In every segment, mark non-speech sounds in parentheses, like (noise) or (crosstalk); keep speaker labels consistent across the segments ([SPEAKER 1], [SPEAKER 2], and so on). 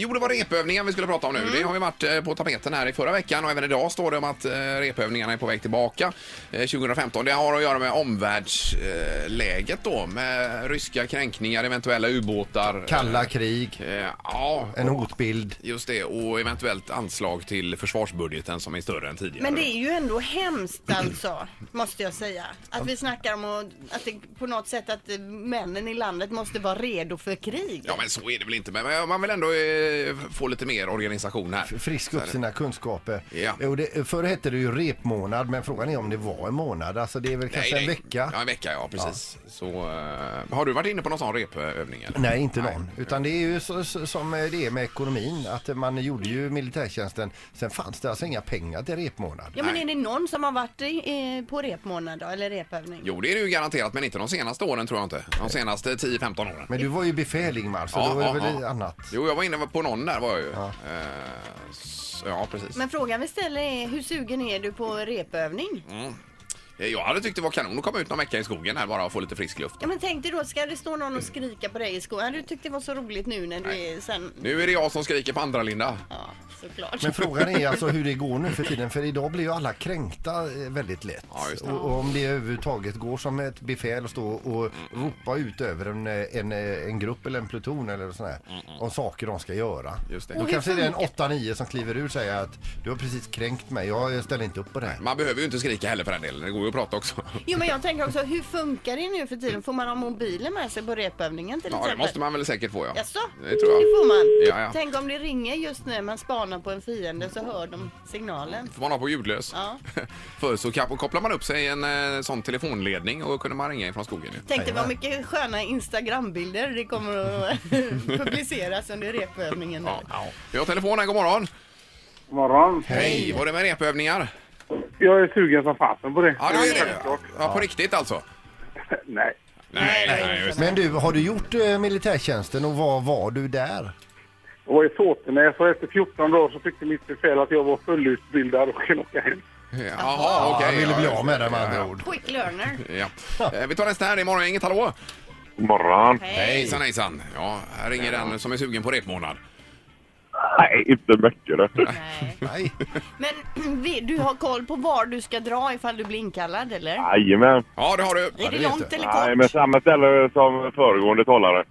[SPEAKER 1] Jo, det var repövningar vi skulle prata om nu.
[SPEAKER 2] Mm.
[SPEAKER 1] Det har ju varit eh, på tapeten här i förra veckan och även idag står det om att eh, repövningarna är på väg tillbaka eh, 2015. Det har att göra med omvärldsläget då med ryska kränkningar, eventuella ubåtar.
[SPEAKER 2] Kalla krig,
[SPEAKER 1] Eh, Ja,
[SPEAKER 2] en hotbild.
[SPEAKER 1] just det. Och eventuellt anslag till försvarsbudgeten som är större än tidigare.
[SPEAKER 3] Men det är ju ändå hemskt alltså, måste jag säga. Att vi snackar om att, att det, på något sätt att eh, männen i landet måste vara redo för krig.
[SPEAKER 1] Ja, men så är det väl inte. Men men man vill ändå eh, få lite mer organisation här.
[SPEAKER 2] Frisk upp sina kunskaper.
[SPEAKER 1] Ja.
[SPEAKER 2] Och det, förr hette det ju repmånad, men frågan är om det var en månad. Alltså det är väl kanske
[SPEAKER 1] nej.
[SPEAKER 2] en vecka.
[SPEAKER 1] Ja, en vecka, ja. Precis. Så, eh, har du varit inne på någon sån repövning? Eller?
[SPEAKER 2] Nej, inte någon. Utan det är ju så, så, som det är med ekonomin. Att man gjorde ju militärtjänsten. Sen fanns det alltså inga pengar till repmånad.
[SPEAKER 3] Ja men
[SPEAKER 1] Nej.
[SPEAKER 3] är det någon som har varit i, eh, på repmånad då, eller repövning?
[SPEAKER 1] Jo, det är det ju garanterat, men inte de senaste åren tror jag inte. De senaste 10-15 åren.
[SPEAKER 2] Men du var ju befäl Ingmar, så då var det väl annat.
[SPEAKER 1] Jo, jag var inne på någon där var jag ju. Ja, ja precis.
[SPEAKER 3] Men frågan vi ställer är hur sugen är du på repövning?
[SPEAKER 1] Mm. Jag hade tyckt det var kanon att komma ut någon vecka i skogen här bara och få lite frisk luft.
[SPEAKER 3] Ja men tänk dig då, ska det stå någon och skrika på dig i skolan? Hade du tyckt det var så roligt nu när du är sen...
[SPEAKER 1] Nu är det jag som skriker på andra, Linda.
[SPEAKER 3] Ja, såklart.
[SPEAKER 2] Men frågan är alltså hur det går nu för tiden. För idag blir ju alla kränkta eh, väldigt lätt.
[SPEAKER 1] Ja, just det.
[SPEAKER 2] och, och om det överhuvudtaget går som ett befäl att stå och ropa ut över en, eh, en, eh, en grupp eller en pluton eller sån här. Om saker de ska göra.
[SPEAKER 1] Just det.
[SPEAKER 2] Då
[SPEAKER 1] Och
[SPEAKER 3] hur
[SPEAKER 2] kanske det är en
[SPEAKER 3] funkar-
[SPEAKER 2] 8-9 som kliver ur och säger att du har precis kränkt mig. Jag ställer inte upp på det här.
[SPEAKER 1] Man behöver ju inte skrika heller för den delen. Det går ju att prata
[SPEAKER 3] (laughs)
[SPEAKER 1] också.
[SPEAKER 3] Jo men jag tänker också, hur funkar det nu för tiden? Får man ha mobilen med sig på repövningen till
[SPEAKER 1] Ja, det
[SPEAKER 3] exempel?
[SPEAKER 1] måste man väl säkert få, ja.
[SPEAKER 3] Jaså?
[SPEAKER 1] Det tror jag.
[SPEAKER 3] Det får man.
[SPEAKER 1] Ja, ja.
[SPEAKER 3] Tänk om det ringer just nu man spanar på en fiende så hör de signalen.
[SPEAKER 1] får man ha på ljudlös.
[SPEAKER 3] Ja.
[SPEAKER 1] (laughs) Förr så kap- kopplar man upp sig i en eh, sån telefonledning och kunde man ringa ifrån skogen. ju.
[SPEAKER 3] Tänk dig vad mycket sköna Instagrambilder det kommer
[SPEAKER 1] (laughs)
[SPEAKER 3] att publiceras under repövningen.
[SPEAKER 1] Ja. Vi har telefonen, god morgon.
[SPEAKER 4] God morgon.
[SPEAKER 1] Hej! Var det med repövningar?
[SPEAKER 4] Jag är sugen som fasen på det.
[SPEAKER 1] Ja, det är det.
[SPEAKER 4] Självklart.
[SPEAKER 1] Ja, på riktigt alltså?
[SPEAKER 4] Nej.
[SPEAKER 1] Nej, nej, nej. just det.
[SPEAKER 2] Men du, har du gjort eh, militärtjänsten och var var du där?
[SPEAKER 4] Jag var i Såtenäs och efter 14 dagar så tyckte mitt befäl att jag var fullutbildad och kunde åka hem.
[SPEAKER 1] Jaha, okej.
[SPEAKER 2] Han ville bli av med
[SPEAKER 1] ja,
[SPEAKER 2] det med
[SPEAKER 1] ja,
[SPEAKER 2] andra ord.
[SPEAKER 3] Quick learner.
[SPEAKER 1] Ja. Eh, Vi tar nästa här, det är morgon, inget hallå?
[SPEAKER 4] God morgon.
[SPEAKER 3] Hej.
[SPEAKER 1] Hejsan hejsan. Ja, här ringer den som är sugen på repmånad.
[SPEAKER 4] Nej, inte mycket. Det.
[SPEAKER 3] Nej.
[SPEAKER 2] Nej.
[SPEAKER 3] Men (clears throat) vi- du har koll på var du ska dra ifall du blir inkallad eller?
[SPEAKER 4] Jajamän.
[SPEAKER 1] Ja, det har du.
[SPEAKER 3] Är det
[SPEAKER 2] vet
[SPEAKER 3] långt
[SPEAKER 2] du.
[SPEAKER 3] eller
[SPEAKER 4] Nej,
[SPEAKER 3] kort?
[SPEAKER 4] men samma ställe som föregående talare.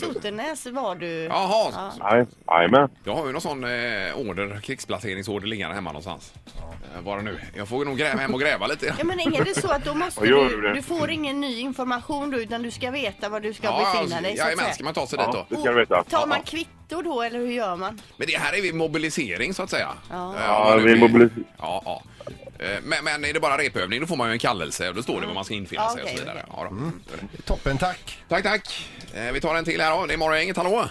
[SPEAKER 3] Sotenäs var du.
[SPEAKER 1] Jaha,
[SPEAKER 4] Nej, Jajamän.
[SPEAKER 1] jag har ju någon sån eh, order, krigsplaceringsorder liggande hemma någonstans. Eh, var det nu? Jag får nog gräva hem och gräva lite.
[SPEAKER 3] Ja, men är det så att
[SPEAKER 4] (laughs)
[SPEAKER 3] då måste
[SPEAKER 4] Vad gör
[SPEAKER 3] du,
[SPEAKER 4] du det?
[SPEAKER 3] du får ingen ny information då utan du ska veta var du ska befinna dig så att
[SPEAKER 1] alltså, jajamän,
[SPEAKER 3] säga.
[SPEAKER 1] ska man ta sig dit
[SPEAKER 4] Ja,
[SPEAKER 1] då?
[SPEAKER 4] det ska du veta.
[SPEAKER 3] Tar man kvitto då eller hur gör man?
[SPEAKER 1] Men det här är vid mobilisering så att säga.
[SPEAKER 3] Ja.
[SPEAKER 1] Eh,
[SPEAKER 4] Ja,
[SPEAKER 1] om man
[SPEAKER 4] vid
[SPEAKER 1] nu-
[SPEAKER 4] mobilis-
[SPEAKER 1] Ja, ja. Eh, Men, men är det bara repövning då får man ju en kallelse och då står det var man ska infinna
[SPEAKER 3] Ja,
[SPEAKER 1] sig och så
[SPEAKER 3] okej, Mm.
[SPEAKER 1] vidare. Ja, då.
[SPEAKER 2] Toppen, tack.
[SPEAKER 1] Tack, tack. Eh, Vi tar en till här då. Det är morgon, inget hallå?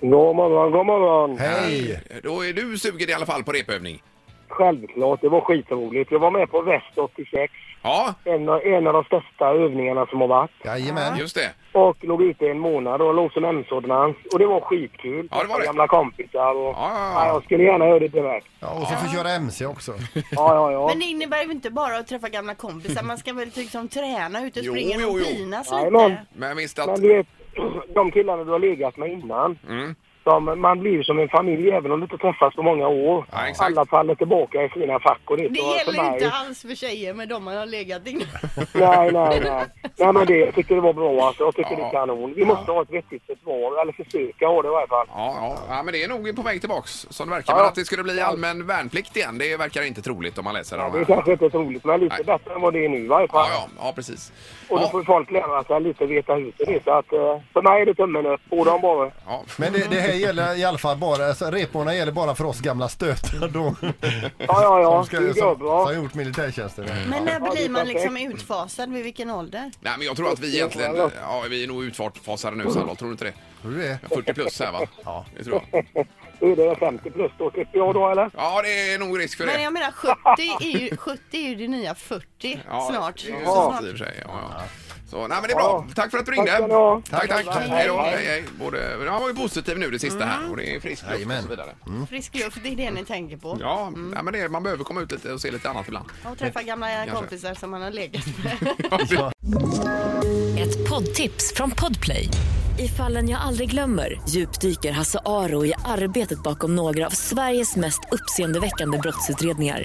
[SPEAKER 4] God morgon, god morgon.
[SPEAKER 2] Hej!
[SPEAKER 1] Eh, Då är du sugen i alla fall på repövning?
[SPEAKER 4] Självklart, det var skitroligt. Jag var med på Väst 86.
[SPEAKER 1] Ja,
[SPEAKER 4] En av, en av de största övningarna som har varit.
[SPEAKER 2] Jajamän.
[SPEAKER 1] just det.
[SPEAKER 4] Och låg ute i en månad och låg som ömsordenans. Och det var skitkul.
[SPEAKER 1] Ja, det var det.
[SPEAKER 4] Gamla kompisar och...
[SPEAKER 1] Ja, ja, ja.
[SPEAKER 4] Ja, jag skulle gärna göra det direkt.
[SPEAKER 2] Ja, och så får du köra MC också.
[SPEAKER 4] Ja, ja, ja.
[SPEAKER 3] Men det innebär ju inte bara att träffa gamla kompisar, man ska väl liksom träna ute och
[SPEAKER 1] Jo,
[SPEAKER 3] springa
[SPEAKER 1] jo,
[SPEAKER 3] och
[SPEAKER 1] jo.
[SPEAKER 3] pinas
[SPEAKER 4] Jajamän.
[SPEAKER 3] lite?
[SPEAKER 1] Men visst att... Mm.
[SPEAKER 4] Men du vet, (clears throat) de killarna du har legat med innan. De, man blir ju som en familj även om du inte träffas på många år.
[SPEAKER 1] Ja, exakt.
[SPEAKER 4] Alla faller tillbaka i sina fack och det,
[SPEAKER 3] Det
[SPEAKER 4] var för
[SPEAKER 3] gäller
[SPEAKER 4] mig-
[SPEAKER 3] inte alls för tjejer med de man har legat innan.
[SPEAKER 4] Nej, nej, nej. nej men det, jag tyckte det var bra alltså. Jag tycker
[SPEAKER 1] Ja.
[SPEAKER 4] det är kanon. Vi måste ha ett vettigt försvar, eller försöka ha det i varje fall.
[SPEAKER 1] Ja, ja. ja, men det är nog på väg tillbaks som det verkar.
[SPEAKER 4] Ja.
[SPEAKER 1] Men att det skulle bli allmän värnplikt igen, det verkar inte troligt om man läser de
[SPEAKER 4] Det är
[SPEAKER 1] här.
[SPEAKER 4] kanske inte så roligt, men lite
[SPEAKER 1] Nej.
[SPEAKER 4] bättre än vad det är nu i varje fall.
[SPEAKER 1] Ja, ja, ja precis.
[SPEAKER 4] Och då
[SPEAKER 1] Ja,
[SPEAKER 4] får folk lära sig lite veta hur det är. Så att, eh, för mig är det tummen upp. Och de bara...
[SPEAKER 1] ja.
[SPEAKER 2] Men det, det här gäller i alla fall bara, alltså, repmånaderna gäller bara för oss gamla stötar då.
[SPEAKER 4] Ja, ja, ja.
[SPEAKER 2] som, ska,
[SPEAKER 4] det
[SPEAKER 2] som,
[SPEAKER 4] går
[SPEAKER 2] som
[SPEAKER 4] bra.
[SPEAKER 2] har gjort militärtjänsten.
[SPEAKER 3] Men när
[SPEAKER 4] det
[SPEAKER 3] blir
[SPEAKER 4] är
[SPEAKER 3] man
[SPEAKER 4] perfekt.
[SPEAKER 3] liksom utfasad? Vid vilken ålder?
[SPEAKER 1] Nej, men jag tror att vi egentligen... Ja, vi är nog utfasade nu, Sandholt. Tror du inte det?
[SPEAKER 2] Tror du det?
[SPEAKER 1] 40 plus här, va?
[SPEAKER 2] Ja.
[SPEAKER 1] Det tror jag.
[SPEAKER 4] Hur är det 50 plus då, tycker jag då, eller?
[SPEAKER 1] Ja, det är nog risk för
[SPEAKER 3] Men
[SPEAKER 1] det.
[SPEAKER 3] jag menar 70 är ju, 70 är ju det nya 40
[SPEAKER 1] Ja,
[SPEAKER 3] snart.
[SPEAKER 1] Det är ju
[SPEAKER 3] Så snart.
[SPEAKER 1] sant i och för sig. Ja, ja. Så, nej, men det är bra.
[SPEAKER 4] Ja.
[SPEAKER 1] Tack för att du
[SPEAKER 4] Tack
[SPEAKER 1] ringde.
[SPEAKER 4] ska ni ha.
[SPEAKER 1] Tack, tack.
[SPEAKER 4] Tack, tack.
[SPEAKER 1] Hej då. Hej, Mm. hej. Både, han var ju positiv nu det sista här och det är frisk luft och
[SPEAKER 2] Jajamän.
[SPEAKER 1] så vidare.
[SPEAKER 3] Frisk luft, det är det ni tänker på.
[SPEAKER 1] Ja, nej, men det, är- man behöver komma ut lite och se lite annat ibland.
[SPEAKER 3] Och träffa gamla kompisar som man har legat med.
[SPEAKER 5] Ett poddtips från Podplay. I fallen jag aldrig glömmer djupdyker Hasse Aro i arbetet bakom några av Sveriges mest uppseendeväckande brottsutredningar.